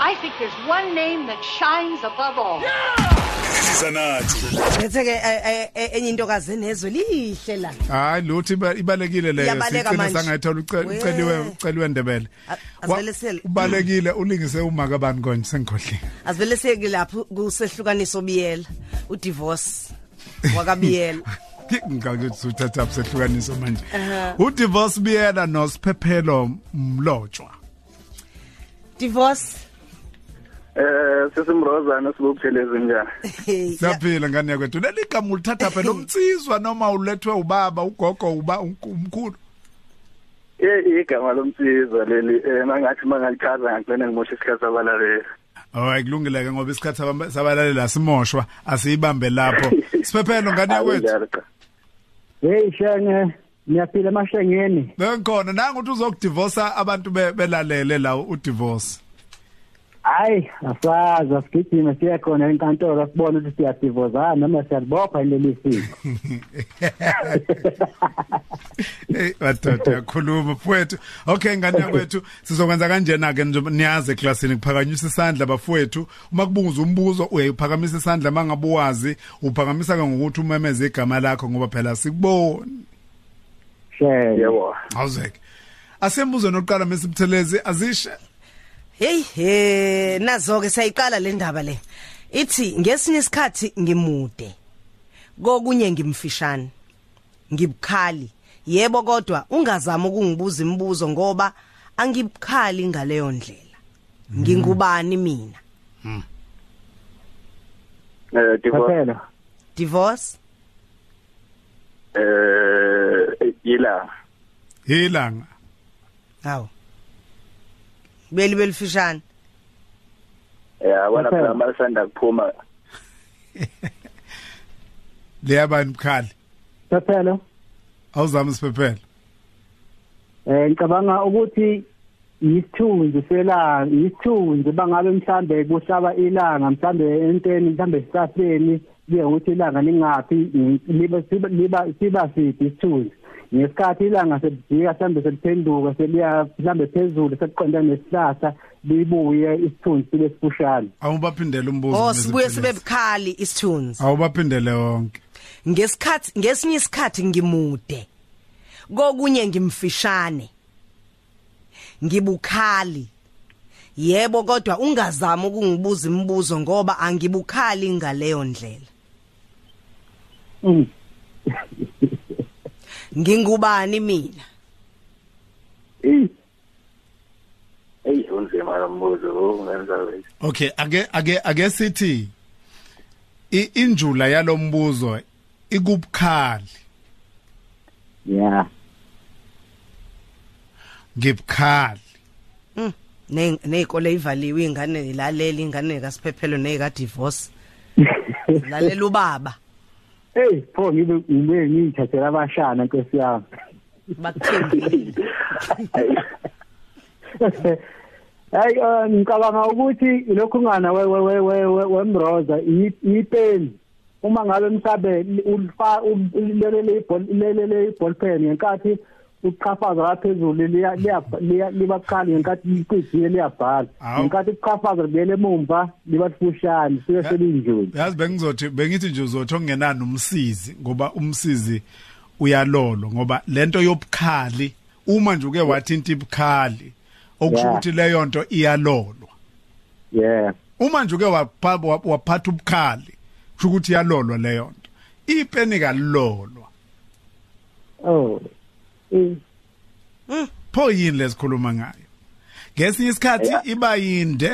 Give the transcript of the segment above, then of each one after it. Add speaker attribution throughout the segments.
Speaker 1: I think there's one name that shines above all.
Speaker 2: Sizanathu.
Speaker 3: ngetheke eh, enye intokazi enezwe lihle la
Speaker 2: Hayi luthi iba- ibalekile leyo
Speaker 3: Iyabaleka
Speaker 2: sicelo
Speaker 3: manje.
Speaker 2: sangayithola uce-
Speaker 3: We.
Speaker 2: uceliwe uceliwe ndebele.
Speaker 3: A-
Speaker 2: Wa-
Speaker 3: asibelisele.
Speaker 2: Ubalekile ulingise umaka abantu konje sengikhohlile.
Speaker 3: asiveleseki lapho kusehlukaniso biyela udivorce wakabiyela
Speaker 2: Ngikakuthi uthatha sehlukaniso manje. Udivorce biyela noSiphephelo Mlotshwa.
Speaker 3: divorce
Speaker 4: Eh sesimrozana sibopheleze njani?
Speaker 3: hey, ya-
Speaker 2: Siyaphila ngani yakwethu. Leli gama ulithatha phela umtsizwa noma ulethwe ubaba, ugogo, uba unku- umkhulu.
Speaker 4: Eh igama lomsiza leli eh mangathi mangalichaza ngicela ngimoshe isikhathi sabalaleli.
Speaker 2: Hayi kulungile ke ngoba isikhathi saba- sabalalela simoshwa asiyibambe lapho. Siphephelo ngani yakwethu.
Speaker 4: Akunjalo cha.
Speaker 5: Hey Shane, ngiyaphila emashengeni.
Speaker 2: Bengikhona nangu uthi uzokudivorsa abantu be- belalele la udivorce.
Speaker 5: Hayi, asazi asigijima siye khona enkantolo sibone ukuthi siyadivozana noma siyalibopha leli siko.
Speaker 2: Hey badoda yakhuluma mfowethu. Okay ngane yakwethu sizokwenza kanjena ke nje niyazi eklasini kuphakanyisa isandla bafowethu uma kubuza umbuzo uyayiphakamisa isandla mangabuwazi uphakamisa ke ngokuthi umemeze igama lakho ngoba phela sikubona.
Speaker 5: Shane.
Speaker 4: Yebo.
Speaker 2: Awuzeke. Asembuzo noqala mesibuthelezi azishe
Speaker 3: hey hey nazo ke sayiqala le ndaba le ithi ngesinye isikhathi ngimude kokunye ngimfishane ngibukhali yebo kodwa ungazama ukungibuza imibuzo ngoba angibukhali ngaleyo ndlela ngingubani mina
Speaker 4: Eh divorce
Speaker 5: Kuphela.
Speaker 3: divorce
Speaker 4: eh yila.
Speaker 2: ilanga.
Speaker 3: Hawu. Beli belifishane.
Speaker 4: Yabona
Speaker 5: Kuphela.
Speaker 4: phela malisanda kuphuma.
Speaker 2: Leyabani bukhali.
Speaker 5: Kuphela.
Speaker 2: Awuzama siphephelo.
Speaker 5: Eh ngicabanga ukuthi yisithunzi selanga, yisithunzi bangabe mhlambe kuhlaba ilanga, mhlambe enteni, mhlambe sisaseni, kuye ukuthi ilanga lingapi, liba siba- liba siba siphi isithunzi. Ngesikhathi ilanga selibhika mhlambe seliphenduka seliya mhlambe phezulu sekuqonda nesihlahla libuye isithunzi sibe sifushane.
Speaker 2: Awubaphindele umbuzo.
Speaker 3: Oh sibuye sibe
Speaker 2: Mesiphelezi.
Speaker 3: bukhali isithuns.
Speaker 2: Awubaphindele wonke.
Speaker 3: Ngesikhathi ngesinye isikhathi ngimude. Kokunye ngimfishane. Ngibukhali. Yebo kodwa ungazama ukungibuza imibuzo ngoba angibukhali ngaleyo ndlela.
Speaker 5: Mm.
Speaker 3: Ngingubani mina?
Speaker 5: Eh,
Speaker 4: Eh unzima lombuzo ungenza wena.
Speaker 2: Okay ake ake ake sithi i- injula yalombuzo ikubukhali
Speaker 5: Yeah.
Speaker 2: ngibukhali
Speaker 3: Mm. Ne nezikole ivaliwe ingane ilalela ingane kaSiphephelo neka divorce. Lalela ubaba.
Speaker 5: Hey, pho ngibe ngibe ngiyithathela abashana nkosi yami.
Speaker 3: Bakuthembile.
Speaker 5: Hayi eh, ngicabanga ukuthi lokhu ngana we- we- we- we- we- wemroza i- ipeni uma ngabe mhlambe um, ulifa ulelele ibhola- ulelele iballpen ngenkathi uqhafaza ngaphezulu liya- liya- liya- liba bukhali ngenkathi liqedile liyabhala
Speaker 2: Awu.
Speaker 5: ngenkathi uqhafaza libuyele emumva liba lifushane sibe selinjuni
Speaker 2: yazi bengizothi bengithi nje uzothi ongenani umsizi ngoba umsizi uyalolo ngoba lento yobukhali uma nje uke wathi into ibukhali okusho
Speaker 5: Yeah.
Speaker 2: ukuthi leyo nto iyalolwa
Speaker 5: yeah
Speaker 2: uma nje uke wapha- wa- waphatha ubukhali kusho ukuthi iyalolwa leyo nto ipeni kalolwa
Speaker 5: oh Eh,
Speaker 2: pho yini lesikhuluma ngayo ngesinye isikhathi iba yinde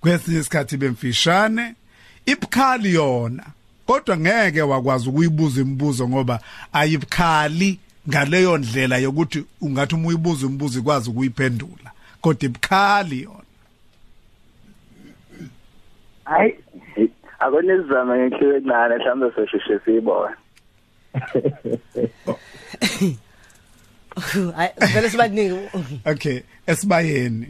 Speaker 2: kwesinye isikhathi bemfishane ibukhali yona kodwa ngeke wakwazi ukuyibuza imibuzo ngoba ayibukhali ngaleyo ndlela yokuthi ungathi uma uyibuza imibuzo ikwazi ukuyiphendula kodwa ibukhali yona
Speaker 5: hayi
Speaker 4: Akonizama ngenhliziyo encane mhlawumbe sosheshe siyibona.
Speaker 3: Hayi vele sibaningi.
Speaker 2: okay esibayeni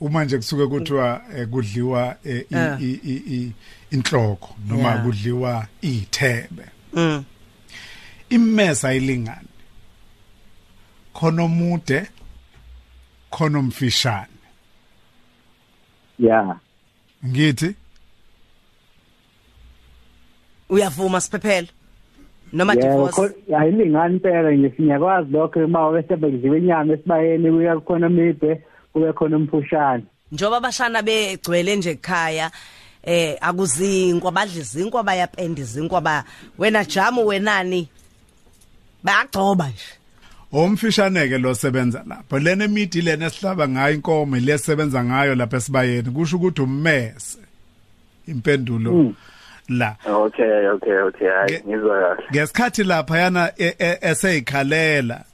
Speaker 2: uma nje kusuke kuthiwa eh, kudliwa eh, i-
Speaker 3: Ah.
Speaker 2: i- i- i- inhloko noma
Speaker 3: Yeah.
Speaker 2: kudliwa ithebe
Speaker 3: Mm.
Speaker 2: imesa ilingani khona omude khona omfishane
Speaker 5: ya
Speaker 2: ngithi
Speaker 3: uyavuma siphephelo noma
Speaker 5: yebo
Speaker 3: divorce
Speaker 5: kho- ayilingani impela nje siyakwazi lokho uma besebenzisa inyama esibayeni kuya khona mide kube khona umfushane
Speaker 3: njoba abashana begcwele nje ekhaya eh akuzinkwa badla izinkwa bayapenda izinkwa ba wena jamu wenani bayagcoba nje
Speaker 2: omfishaneke lo sebenza lapho lene midi lene sihlaba ngayo inkomo lesebenza ngayo lapha esibayeni kusho ukuthi ummese impendulo la
Speaker 4: okay okay okay hayi
Speaker 2: Nge-
Speaker 4: ngizwa kahle
Speaker 2: ngesikhathi lapha yana eseyikhalela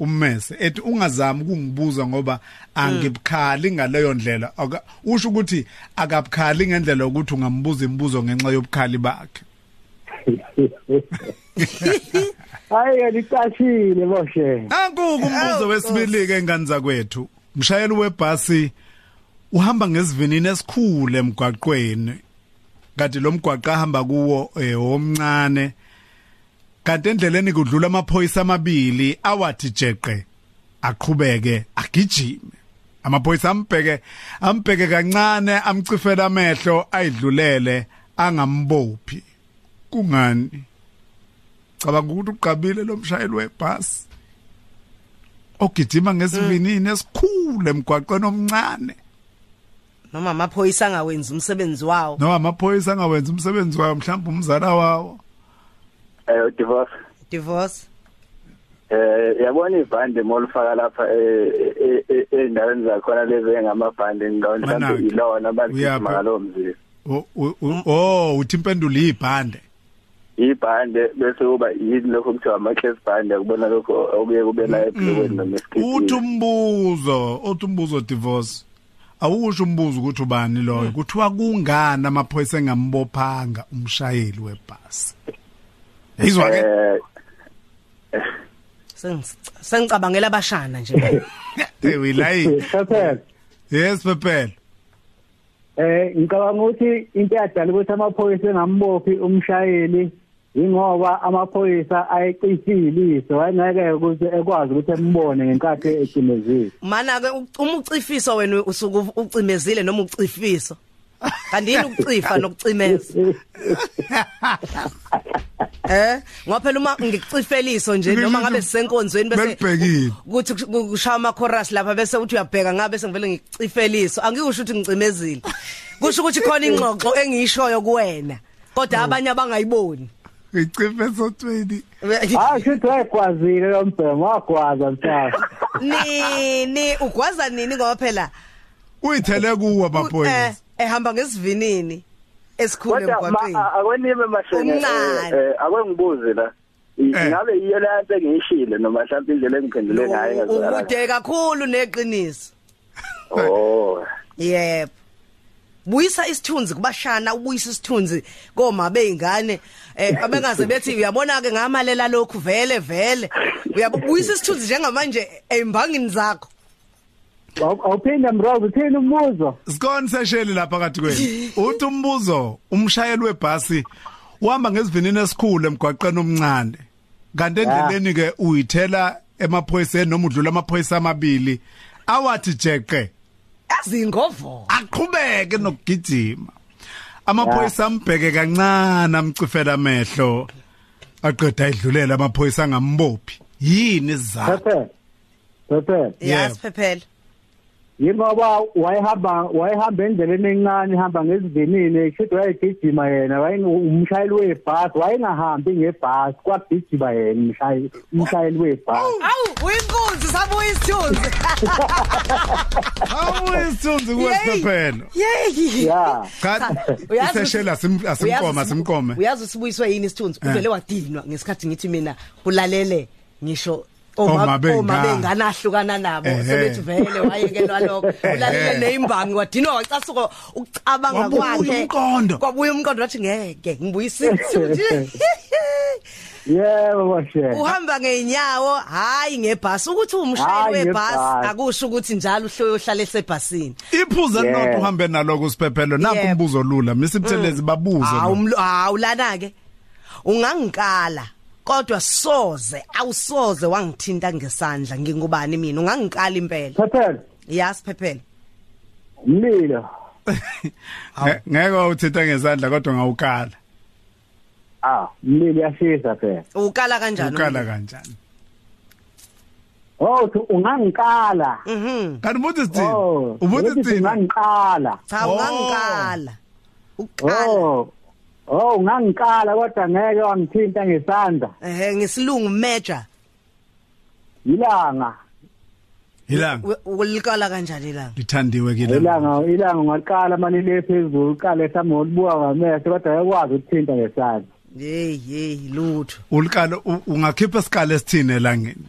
Speaker 2: ummese ethi ungazami ukungibuza ngoba angibukhali ngaleyo ndlela Aka- usho ukuthi akabukhali ngendlela ukuthi ungambuza imibuzo ngenxa yobukhali bakhe
Speaker 5: hayi ke licashile boshe
Speaker 2: Ankuku umbuzo wesibili ke ngani zakwethu. Mshayeli webhasi uhamba ngesivinini esikhulu emgwaqweni. Kanti lo mgwaqo ahamba kuwo eh, omncane. Kanti endleleni kudlula amaphoyisa amabili awathi jeqe aqhubeke agijime. Amaphoyisa ambheke ambheke kancane amcifele amehlo ayidlulele angambophi. Kungani? Cabanga ukuthi uqabile lo mshayeli webhasi. ogijima ngesivinini esikhulu emgwaqweni omncane
Speaker 3: noma amaphoyisa angawenzi umsebenzi wawo
Speaker 2: noma amaphoyisa angawenza umsebenzi wayo mhlawumbe umzala wawo
Speaker 4: eh divorce
Speaker 3: divorce
Speaker 4: Eh yabona ibhande molifaka lapha eh, eh, eh, endaweni zakhona lezi engamabhande ngqondo
Speaker 2: Manaki.
Speaker 4: mhlawumbe ilona
Speaker 2: Uyaphi?
Speaker 4: baligijima ngalowo mzila
Speaker 2: O- u- u- oh uthi impendulo iyibhande
Speaker 4: ibhande bese kuba yini lokho kuthiwa ama-class bhande akubona lokho okuye kube la ebhlokweni noma
Speaker 2: uthi
Speaker 4: esikhithini
Speaker 2: umbuzo uthi umbuzo divorce awusho umbuzo ukuthi ubani loyo kuthiwa kungani amaphoyisa engambophanga umshayeli webhasi yizwa ke
Speaker 4: eh
Speaker 3: Sengic- sengicabangela abashana nje
Speaker 2: hey uyilayini
Speaker 5: siphephelo
Speaker 2: yes pephela
Speaker 5: Eh ngicabanga ukuthi into eyadala ukuthi amaphoyisa engambophi umshayeli ingoba amaphoyisa ayecisiliso ayengeke ukuthi ekwazi ukuthi embone ngenkathi ecimezile.
Speaker 3: mana ke uma ucifiso wena usuke ucimezile noma ucifiso kanti yini ukucifa nokucimeza eh ngoba phela uma ngikucifeliso nje noma ngabe sisenkonzweni bese
Speaker 2: Belibhekile.
Speaker 3: kuthi ku- kushaya ama chorus lapha bese uthi uyabheka ngabe sengivele ngikucifeliso angikusho ukuthi ngicimezile kusho ukuthi khona ingxoxo engiyishoyo kuwena kodwa abanye abangayiboni
Speaker 2: iciphe so 20
Speaker 5: Hayi shuthi wayekwazile lo mbhemo wagwaza mhlawumbe.
Speaker 3: nini ugwaza nini ngoba phela
Speaker 2: uyithele kuwo
Speaker 3: eh
Speaker 2: amaphoyisa
Speaker 3: ehamba ngesivinini esikhulu
Speaker 4: kodwa
Speaker 3: emgwaqweni
Speaker 4: ma- Ah, a- akwenibe mashenge
Speaker 3: Umncane.
Speaker 4: eh, akwengibuzi la I-
Speaker 2: Eh.
Speaker 4: ingabe yiyo le nto engiyishile noma mhlawumbe indlela engiphendule ngayo engazwakala.
Speaker 3: ukude kakhulu neqiniso
Speaker 4: oh
Speaker 3: yebo buyisa isithunzi kubashana ubuyisa isithunzi koma beingane eh abengaze bethi uyabona ke ngamalela lokhu vele vele uyabuyisa isithunzi njengamanje embangini zakho
Speaker 5: Awu- Awuphinde mrozo uthini umbuzo?
Speaker 2: Sikhona sesheli lapha kathi kwenu. Uthi umbuzo umshayeli webhasi uhamba ngesivinini esikhulu emgwaqeni omncane. Kanti endleleni ke uyithela emaphoyiseni noma udlula amaphoyisa amabili awathi jeqe
Speaker 3: azingovo
Speaker 2: aqhubeke nokugijima. Amaphoyisa ambheke kancane amcifela amehlo. Aqeda idlulela amaphoyisa ngambophi. Yini isizathu?
Speaker 5: Siphephelo. Siphephelo.
Speaker 2: Yebo.
Speaker 3: yasiphephela
Speaker 5: Yingoba wayehamba wayehamba endleleni encane ihamba ngesivinini shuthi wayegijima yena wayengumshayeli webhasi wayengahambi ngebhasi kwagijima yena umshayeli umshayeli webhasi.
Speaker 3: awu uyinkunzi sabuya isithunzi
Speaker 2: Awuyisithunzi kwesiphelo.
Speaker 3: yey
Speaker 5: Yeah.
Speaker 2: Cha
Speaker 3: Uyazi
Speaker 2: isesheli asim- asimkome
Speaker 3: uyazi usibu-
Speaker 2: asimkome. Eh.
Speaker 3: uyazi usibuyiswe yini isithunzi uvele wadinwa ngesikhathi ngithi mina kulalele ngisho
Speaker 2: Oma
Speaker 3: oma
Speaker 2: bengane.
Speaker 3: oma bengane ahlukana nabo
Speaker 2: Ehhe.
Speaker 3: sebethi vele wayekelwa lokho ulalele
Speaker 2: Ehhe.
Speaker 3: neimbangi wadinwa wacasuka ucabanga
Speaker 2: Wabuya
Speaker 3: kwakhe
Speaker 2: umqondo.
Speaker 3: kwabuya umqondo wathi ngeke ngibuyisa isithunzi
Speaker 5: Yebo bashela.
Speaker 3: uhamba ngeenyawo hayi ngebhasi ukuthi umshayeli
Speaker 5: Hhayi,
Speaker 3: webhasi
Speaker 5: ngebhasi.
Speaker 3: akusho ukuthi njalo uhloyohlala esebhasini
Speaker 2: Iphuza
Speaker 5: Yeah.
Speaker 2: not uhambe naloko siphephelo nanku
Speaker 3: Yebo. Mm.
Speaker 2: umbuzo lula misibuthelezi babuze
Speaker 3: hawu
Speaker 2: lo.
Speaker 3: mlo- hawu lana ke ungangikala kodwa soze awusoze wangithinta ngesandla ngingubani mina ungangikala impela
Speaker 5: Siphephelo.
Speaker 3: yasiphephela
Speaker 5: Umlilo.
Speaker 2: Nge- ngeke wawuthetha ngezandla kodwa ngawukala
Speaker 5: ah mlili yashisa phela
Speaker 3: ukala kanjani
Speaker 2: ukala kanjani
Speaker 5: oh uthi ungangikala
Speaker 3: mhm
Speaker 2: kanti ubuthi sithini
Speaker 5: oh
Speaker 2: ubuthi
Speaker 5: uthi
Speaker 2: sithini
Speaker 5: ungangikala
Speaker 3: cha
Speaker 2: Oh.
Speaker 3: ungangikala ukala
Speaker 5: oh oh ungangikala kodwa ngeke wangithinta ngesandla
Speaker 3: eh ngesilungu major
Speaker 5: ilanga
Speaker 2: ilanga
Speaker 3: We- ulikala kanjani ilanga
Speaker 2: lithandiwe kilanga
Speaker 5: ilanga ilanga ungaliqala manje le phezulu uqale mhlawumbe ngolibuka ngamehlo kodwa ayakwazi ukuthinta ngesandla
Speaker 3: hey hey lutho
Speaker 2: ulikala u- ungakhipha isikala esithini elangeni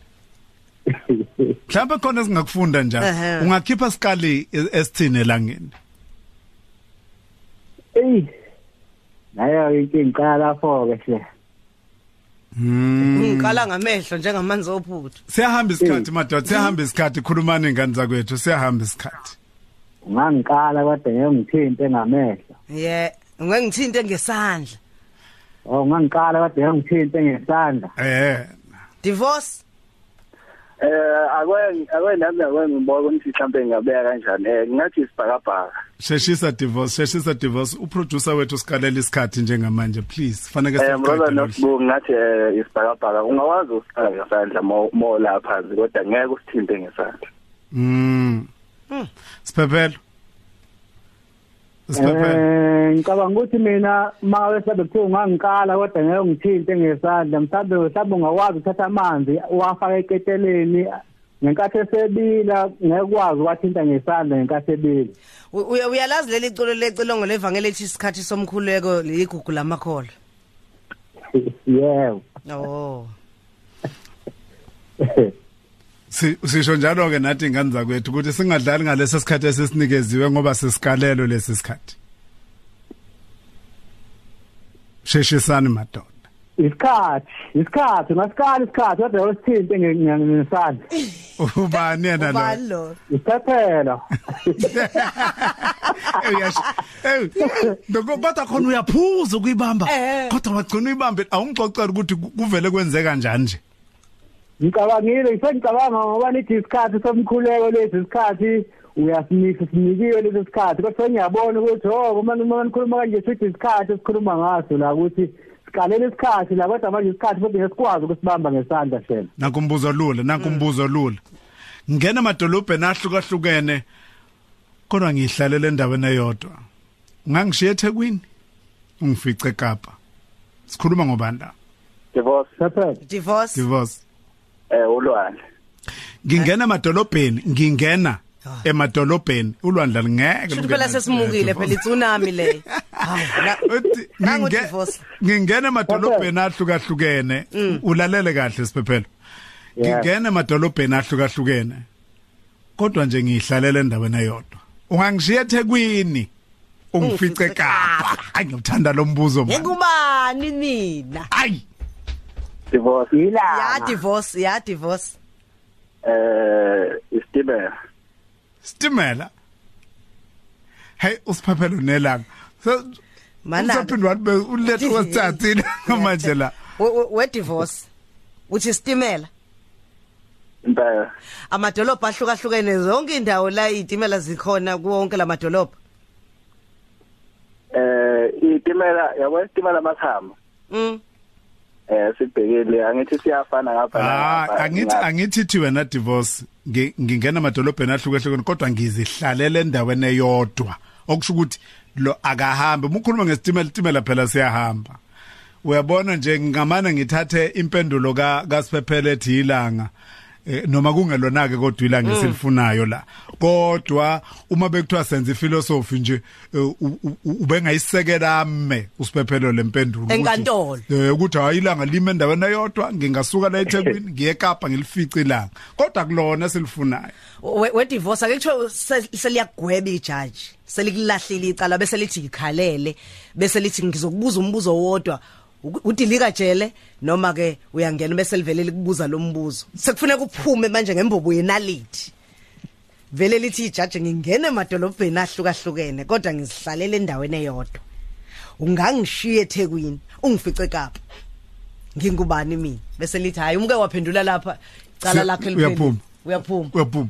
Speaker 2: mhlawumbe khona esingakufunda njalo
Speaker 3: Ehhe.
Speaker 2: ungakhipha isikali e- esithini elangeni
Speaker 5: eyi nayo inkinga iqala lapho-ke hle
Speaker 3: Hmm.
Speaker 2: Mm.
Speaker 3: ungikala ngamehlo njengamanzi ophuthu
Speaker 2: siyahamba isikhathi madodoti siyahamba isikhathi khulumani ngane zakwethu siyahamba isikhathi
Speaker 5: ungangikala kodwa ngeke ngithinte ngamehlo
Speaker 3: yeah ungangithinte ngesandla
Speaker 5: oh ungangikala kodwa ngeke ngithinte ngesandla
Speaker 2: eh
Speaker 3: divorce
Speaker 4: Eh akwengi akwenami akwengibona ukuthi mhlambe ngingabeka kanjani. Eh ngathi isibhakabhaka.
Speaker 2: sheshisa divorce sheshisa divorce uproducer wethu sikalela isikhathi njengamanje please fanele
Speaker 4: Eh mroza
Speaker 2: siqede
Speaker 4: nosibu ngathi eh isibhakabhaka ungakwazi ukusala ngesandla mo mo lapha phansi kodwa ngeke usithinte ngesandla.
Speaker 2: mm
Speaker 3: Hmm.
Speaker 2: siphephelo siphephelo
Speaker 5: um ngicabanga ukuthi mina mangabe mhlawumbe kuthiwa ungangikala kodwa ngeke ngithinte ngesandla mhlawumbe mhlawumbe ungakwazi ukuthatha amanzi uwafake eketeleni ngenkathi esebila ngeke ukwazi uwathinta ngesandla ngenkathi ebila
Speaker 3: U- uya- uyalazi leli culo lecilongo levangeli ethi isikhathi somkhuleko ligugu lamakhola
Speaker 5: yebo
Speaker 3: oh
Speaker 2: Si- sisho njalo ke nathi ingane zakwethu ukuthi singadlali ngalesi sikhathi esisinikeziwe ngoba sisikalelo lesi sikhathi sheshisani madodoti
Speaker 5: isikhathi isikhathi ungasikala isikhathi kodwa usithinte nge- nge- ngesandla
Speaker 2: ubani yena lo
Speaker 3: ubani lo
Speaker 5: isiphephelo
Speaker 2: Eyi ngokubatha khona uyaphuza ukuyibamba
Speaker 3: Eh.
Speaker 2: kodwa wagcina uyibambe awungicocela ukuthi ku- kuvele kwenze kanjani nje
Speaker 5: ngicabangile ngisengicabanga ngoba nithi isikhathi somkhuleko lesi isikhathi uyasinisa sinikiwe lesi sikhathi kodwa sengiyabona ukuthi oh uma uma nikhuluma kanje sithi isikhathi esikhuluma ngaso la ukuthi sikalela isikhathi la kodwa manje isikhathi futhi ngeke sikwazi ukusibamba ngesandla shela
Speaker 2: nakumbuzo lula
Speaker 3: Mm.
Speaker 2: nakumbuzo lula ngena madolobhe nahlukahlukene kodwa ngihlalele endaweni eyodwa ungangishiya eThekwini ungifice eKapa sikhuluma ngobani la
Speaker 4: Divorce
Speaker 5: sephethe
Speaker 3: divorce
Speaker 2: divorce
Speaker 4: eh ulwane.
Speaker 2: ngingena emadolobheni ngingena
Speaker 3: Eh? Ah.
Speaker 2: emadolobheni ulwandla lingeke
Speaker 3: Shuthi
Speaker 2: lungene- Eh,
Speaker 3: phela sesimukile phela itsunami le.
Speaker 2: Uthi
Speaker 3: Nangu
Speaker 2: nginge-
Speaker 3: divorce. Mm.
Speaker 2: ngingena emadolobheni ahlukahlukene ulalele kahle siphephelo
Speaker 5: Yeah.
Speaker 2: ngingena emadolobheni ahlukahlukene kodwa nje ngihlalele endaweni eyodwa ungangishiya eThekwini ungifice
Speaker 3: Ungifice
Speaker 2: eKapa hayi ngiyawuthanda lo mbuzo man.
Speaker 3: Ngikubani mina?
Speaker 2: hayi
Speaker 4: Divorce
Speaker 5: yila
Speaker 3: Ya divorce, ya divorce.
Speaker 4: eh isibhakabhaka.
Speaker 2: stimela hey usiphephelo nelanga
Speaker 3: Mana.
Speaker 2: usaphindwa ulethe kwesithathini manje la
Speaker 3: We- we- We divorce. Uthi istimela.
Speaker 4: Impela.
Speaker 3: Amadolobha ahlukahlukene zonke indawo la izitimela zikhona kuwo wonke lamadolobha.
Speaker 4: Eh itimela yabo isitimela mathamba.
Speaker 3: Mm.
Speaker 4: Eh sibhekile angithi siyafana ngapha
Speaker 2: Ah,
Speaker 4: ngapha,
Speaker 2: angithi
Speaker 4: ngapha.
Speaker 2: angithi thi wena divorce ngi- ngingena emadolobheni ahlukehlukene kodwa ngizihlalele endaweni eyodwa okusho ukuthi lo akahambe uma ukhuluma ngesitimela itimela phela siyahamba uyabona nje ngingamane ngithathe impendulo ka kasiphephele ethi ilanga Eh, noma kungelona ke kodwa ilanga esilifunayo la kodwa uma bekuthiwa senze philosophy nje eh, u- u- u- ubengayisekela ame usiphephelo lempendulo ukuthi-
Speaker 3: Enkantolo.
Speaker 2: eh ukuthi hayi ilanga lime endaweni eyodwa ngingasuka la eThekwini ngiye eKapa ngilifice ilanga kodwa kulona silifunayo
Speaker 3: We we divorce ake kuthiwe se- seliyagweba ijudge. Selikulahlile icala bese lithi ikhalele, bese lithi ngizokubuza umbuzo wodwa. U- Udilika jele noma ke uyangena bese livele likubuza lo mbuzo. Sekufuneka uphume manje ngembobo yenality. Vele lithi ijudge ngingena emadolobheni ahlukahlukene kodwa ngizihlalela endaweni eyodwa. Ungangishiya eThekwini, ungifice kaPa. Ngingubani mina? Bese lithi hayi umke waphendula lapha icala
Speaker 2: Se-
Speaker 3: lakhe
Speaker 2: uyaphuma.
Speaker 3: Uyaphuma.
Speaker 2: uyaphuma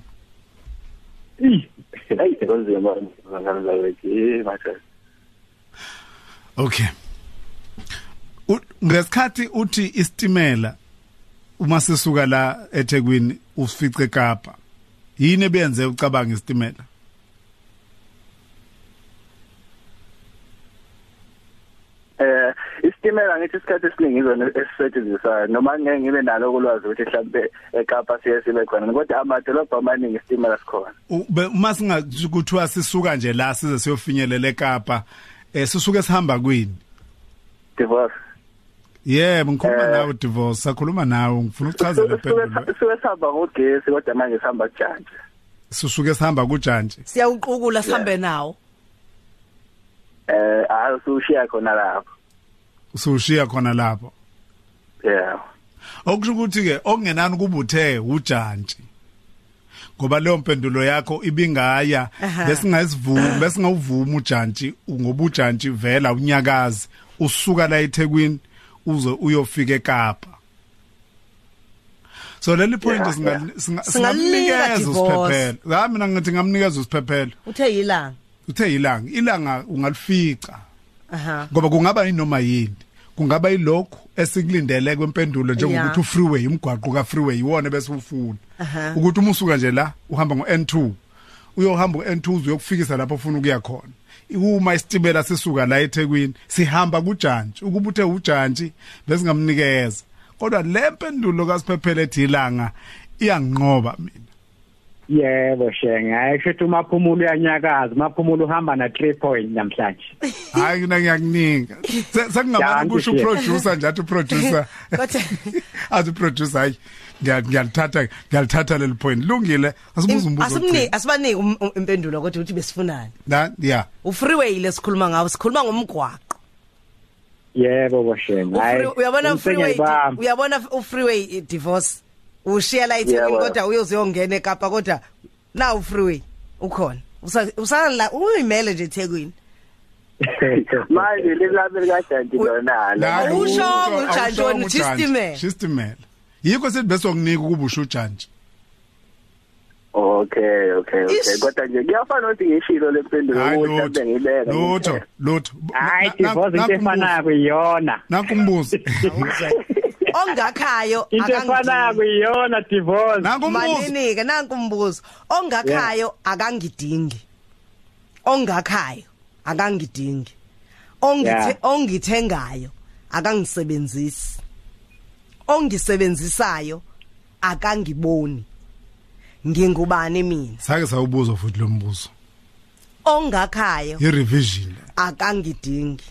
Speaker 4: hayi kunzima ngizangaza wethu manje
Speaker 2: Okay. U- Ngesikhathi uthi istimela uma sisuka la eThekwini ufice eKapa. Yini ebenze ucabanga istimela?
Speaker 4: eh isitimela ngithi isikhathi esiningi izona esisetshenziswayo noma ngeke ngibe nalo kulwazi ukuthi mhlawumbe eKapa siye sibe khona kodwa amadolobha amaningi isitimela sikhona
Speaker 2: U- be- Uma singakuthiwa sisuka nje la size siyofinyelela eKapa, eh sisuke sihamba kwini?
Speaker 4: divorce
Speaker 2: Yebo, ngikhuluma
Speaker 4: Eh.
Speaker 2: nawe divorce, sakhuluma nawe, ngifuna ukuchazela
Speaker 4: Sisuke-
Speaker 2: phendlo.
Speaker 4: sisuke sihamba ngogesi kodwa manje sihamba kujantshi
Speaker 2: Sisuke sihamba kujantshi.
Speaker 3: siyawuqukula sihambe nawo
Speaker 4: eh hayi usushiya khona lapho
Speaker 2: Usushiya khona lapho.
Speaker 4: yeah
Speaker 2: okushukuthi ke okungenani kubuthe ujantshi ngoba leyo mpendulo yakho ibingaya
Speaker 3: Aha.
Speaker 2: besingayivumi besingawuvuma ujantshi ngoba ujantshi vela unyakazi usuka la eThekwini uze uyofika eKapa so leli point
Speaker 4: Yeah,
Speaker 2: singa- singa-
Speaker 3: Singalunika
Speaker 2: singalunikeza
Speaker 3: divorce.
Speaker 2: usiphephelo ha mina ngithi ngamnikeza usiphephelo
Speaker 3: uthe yilanga
Speaker 2: uthe ilanga ilanga ungalifica
Speaker 3: aha
Speaker 2: ngoba kungaba inoma yini kungaba ilokhu esikulindele kwempendulo njengokuthi
Speaker 3: Yeah.
Speaker 2: ufreeway umgwaqo ka-freeway iwona bese ufuna
Speaker 3: Aha.
Speaker 2: ukuthi uma usuka nje la uhamba ngo-n2 uyohamba ku-n2 uyokufikisa lapho ufuna ukuya khona uma isitibela sisuka la eThekwini sihamba kujantshi ukuba uthe ujantshi besingamnikeza kodwa le mpendulo kasiphephele ethi ilanga iyanginqoba mina
Speaker 5: yebo shenge ayisho ukuthi umaphumulo uyanyakaza umaphumulo uhamba na 3 point namhlanje
Speaker 2: hhayi mina ngiyakuninga Se- sekungabani
Speaker 5: Yanti
Speaker 2: kusho
Speaker 5: nje.
Speaker 2: uproducer nje athi uproducer
Speaker 3: Kodwa-
Speaker 2: athi producer hayi ngiya- ngiyalithatha ngiyalithatha leli point lungile asibuza
Speaker 3: Im-
Speaker 2: umbuzo
Speaker 3: asimniki
Speaker 2: wokucela.
Speaker 3: asibaniki um- um- impendulo kodwa ukuthi besifunani
Speaker 2: Na- yeah
Speaker 3: ufreeway lesikhuluma ngawo sikhuluma ngomgwaqo
Speaker 5: yebo boshenge
Speaker 3: Ufree- uyabona freeway uyabona ufreeway eh, divorce ushiya la eThekwini
Speaker 4: Yebo.
Speaker 3: kodwa uyoziyongena eKapa kodwa na ufreeway ukhona Usa- usala uyimele nje eThekwini
Speaker 4: manje lelami likajantshi lona
Speaker 2: Na-
Speaker 3: Awushongo
Speaker 2: awushongo
Speaker 3: ujantshi wena, uthi
Speaker 2: ujantshi.
Speaker 3: isitimela.
Speaker 2: Isitimela. yikho sithi besokunika ukuba usho ujantshi
Speaker 4: okay okay okay
Speaker 3: Ish.
Speaker 4: kodwa nje kuyafana ukuthi ngishilo lempendulo
Speaker 2: Hayi,
Speaker 4: ukuthi
Speaker 2: lutho
Speaker 4: mhlawumbe ngibeka
Speaker 2: lutho lutho
Speaker 5: hayi
Speaker 2: Na- na-
Speaker 5: divorce
Speaker 2: nanku
Speaker 5: into efanayo
Speaker 2: umbuzo.
Speaker 5: kuyona
Speaker 2: nanku umbuzo
Speaker 3: ongakhayo
Speaker 5: into efanayo
Speaker 3: akangidingi.
Speaker 5: kuyona divorce
Speaker 2: nanku umbuzo
Speaker 3: manini ke nanku umbuzo ongakhayo akangidingi ongakhayo akangidingi ongithe
Speaker 5: Yeah.
Speaker 3: ongithengayo akangisebenzisi ongisebenzisayo akangiboni ngingubani mina
Speaker 2: sake sawubuzo futhi lo mbuzo
Speaker 3: ongakhayo
Speaker 2: i-revision
Speaker 3: akangidingi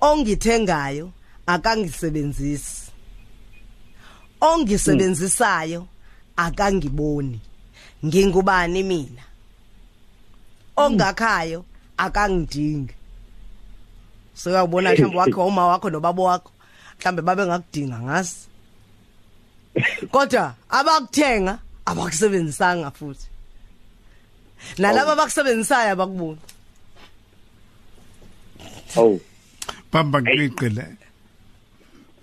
Speaker 3: ongithengayo akangisebenzisi ongisebenzisayo akangiboni ngingubani mina ongakhayo akangidingi soyabona mhlawumbe wakho uma wakho nobaba wakho mhlawumbe babe ngakudinga ngazi kodwa abakuthenga abakusebenzisanga futhi nalabo abakusebenzisayo abakuboni
Speaker 5: oh
Speaker 2: bamba ngiqile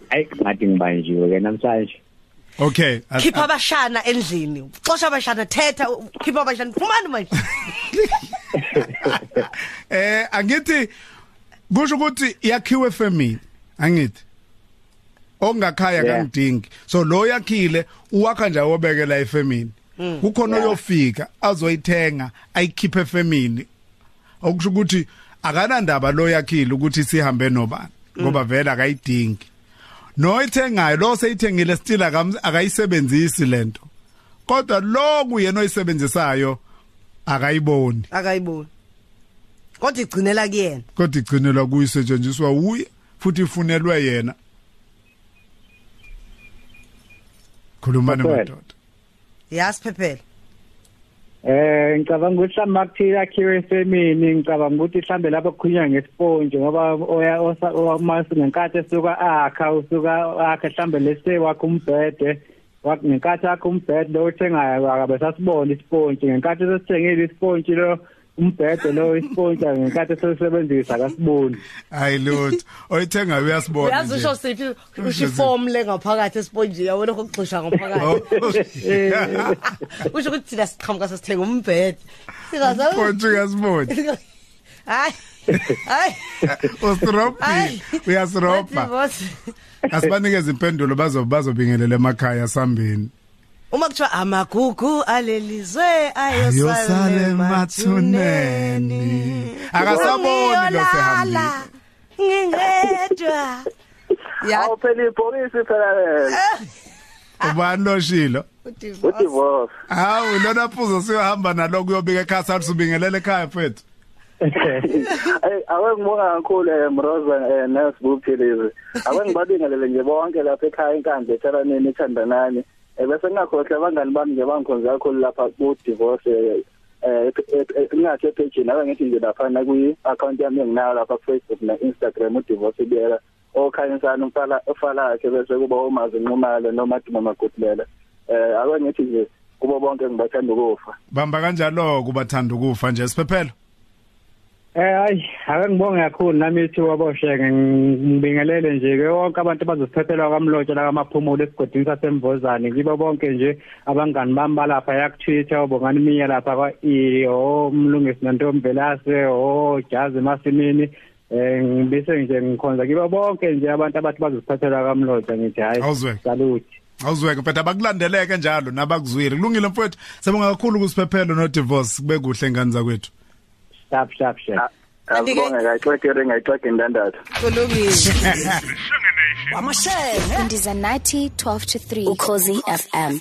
Speaker 5: ayi ngathi ngibanjiwe ke namhlanje
Speaker 2: okay as-
Speaker 3: khipha abashana endlini xosha abashana thetha u- khipha abashana phumani manje
Speaker 2: eh angithi kusho ukuthi yakhiwe family angithi ongakhaya
Speaker 5: Yeah.
Speaker 2: kangidingi so lo yakhile uwakha nje wobekela efamily kukhona oyofika azoyithenga ayikhiphe efamily okusho ukuthi akanandaba lo yakhile ukuthi sihambe nobani ngoba vele akayidingi noyithengayo lo seyithengile still akam- akayisebenzisi lento kodwa lo kuyena oyisebenzisayo akayiboni
Speaker 3: akayiboni kodwa igcinela kuyena
Speaker 2: kodwa igcinelwa kuyisetshenziswa uye futhi ifunelwe yena khulumani
Speaker 5: Makwela.
Speaker 2: madoda
Speaker 3: yasi phephela
Speaker 5: Eh ngicabanga ukuthi mhlawumbe akuthile akhiwe esemini ngicabanga ukuthi mhlawumbe lapho kukhulunywa ngesiponje ngoba oya osa- omasi ngenkathi esuka akha usuka akha mhlawumbe lese wakhe umbhede wakhe ngenkathi akhe umbhede lo uthengayo akabe sasibona isiponje ngenkathi sesithengile isiponje lo umbhede lo ispontsha ngenkathi esebenzisa akasiboni
Speaker 2: hayi lutho oyithengayo uyasibona
Speaker 3: uyazi usho siphi Oh. usho ifomu le ngaphakathi esiponjini yabona kokugxisha ngaphakathi Eh.
Speaker 2: nje
Speaker 3: usho ukuthi thina siqhamuka sesithenga umbhede singazahayi
Speaker 2: Konje uyasibona.
Speaker 3: hayi
Speaker 2: Usirophi,
Speaker 3: hayi
Speaker 2: uyasiropha.
Speaker 3: Bathi, boss,
Speaker 2: Asibanikeze impendulo bazo bazobingelela emakhaya sambeni.
Speaker 3: uma kuthiwa amagugu alelizwe
Speaker 2: Ayosale
Speaker 3: ayosale
Speaker 2: emathuneni. Akasaboni lo sehambile.
Speaker 3: ngingedwa ya Eh,
Speaker 4: awupheli ibhokisi phela eh, lelo
Speaker 2: Ubani loshilo?
Speaker 3: udivorce.
Speaker 4: udivorce
Speaker 2: Hawu lona phuzo siyohamba nalo kuyobika ekhaya sathi ubingelela ekhaya mfethu.
Speaker 4: Eh, awe ngibonga kakhulu eh, mroza eh, nels buphilizi awe ngibabingelele nje bonke lapha ekhaya inkandla etheraneni ethandanani um bese ngingakhohlwa abangani bami nje bangikhonze kakhulu lapha ku-divorce um ngingathi epejini abe ngithi nje laphana kwi-akhawunti yami enginayo lapha kufacebook ne-instagram udivorce biyela okhanyisana umfala- ofalakhe bese kuba omazi nqumalo nomaduma magudulela um abe ngithi nje kubo bonke ngibathanda ukufa
Speaker 2: Bamba kanjalo kubathanda ukufa nje siphephelo.
Speaker 5: Eh hayi ake ngibonge kakhulu nami ithi waboshenge ngibingelele nje ke bonke abantu abazosiphephelwa kwamlotsha la kamaphumulo esigodini sasemvozane kibo bonke nje abangani bami balapha yakuthwitha obongani miya lapha kwa-e o mlungisi nontomvelase o jazi emasimini um ngibise nje ngikhonza kibo bonke nje abantu abathi bazosiphephelwa kwamlotsha ngithi
Speaker 2: Awuzwe.
Speaker 5: hhayi saluthi
Speaker 2: Awuzweke mfethu abakulandeleke njalo nabakuzwile. Kulungile mfethu. Sebonga kakhulu kusiphephelo no divorce kube kuhle ngani zakwethu.
Speaker 5: shap shap shap
Speaker 3: Kanti-ke-
Speaker 4: azibonge ngayixegere ngayixege indandatho
Speaker 3: kulungile
Speaker 6: Ndiza nathi 12 to 3 ukhozi FM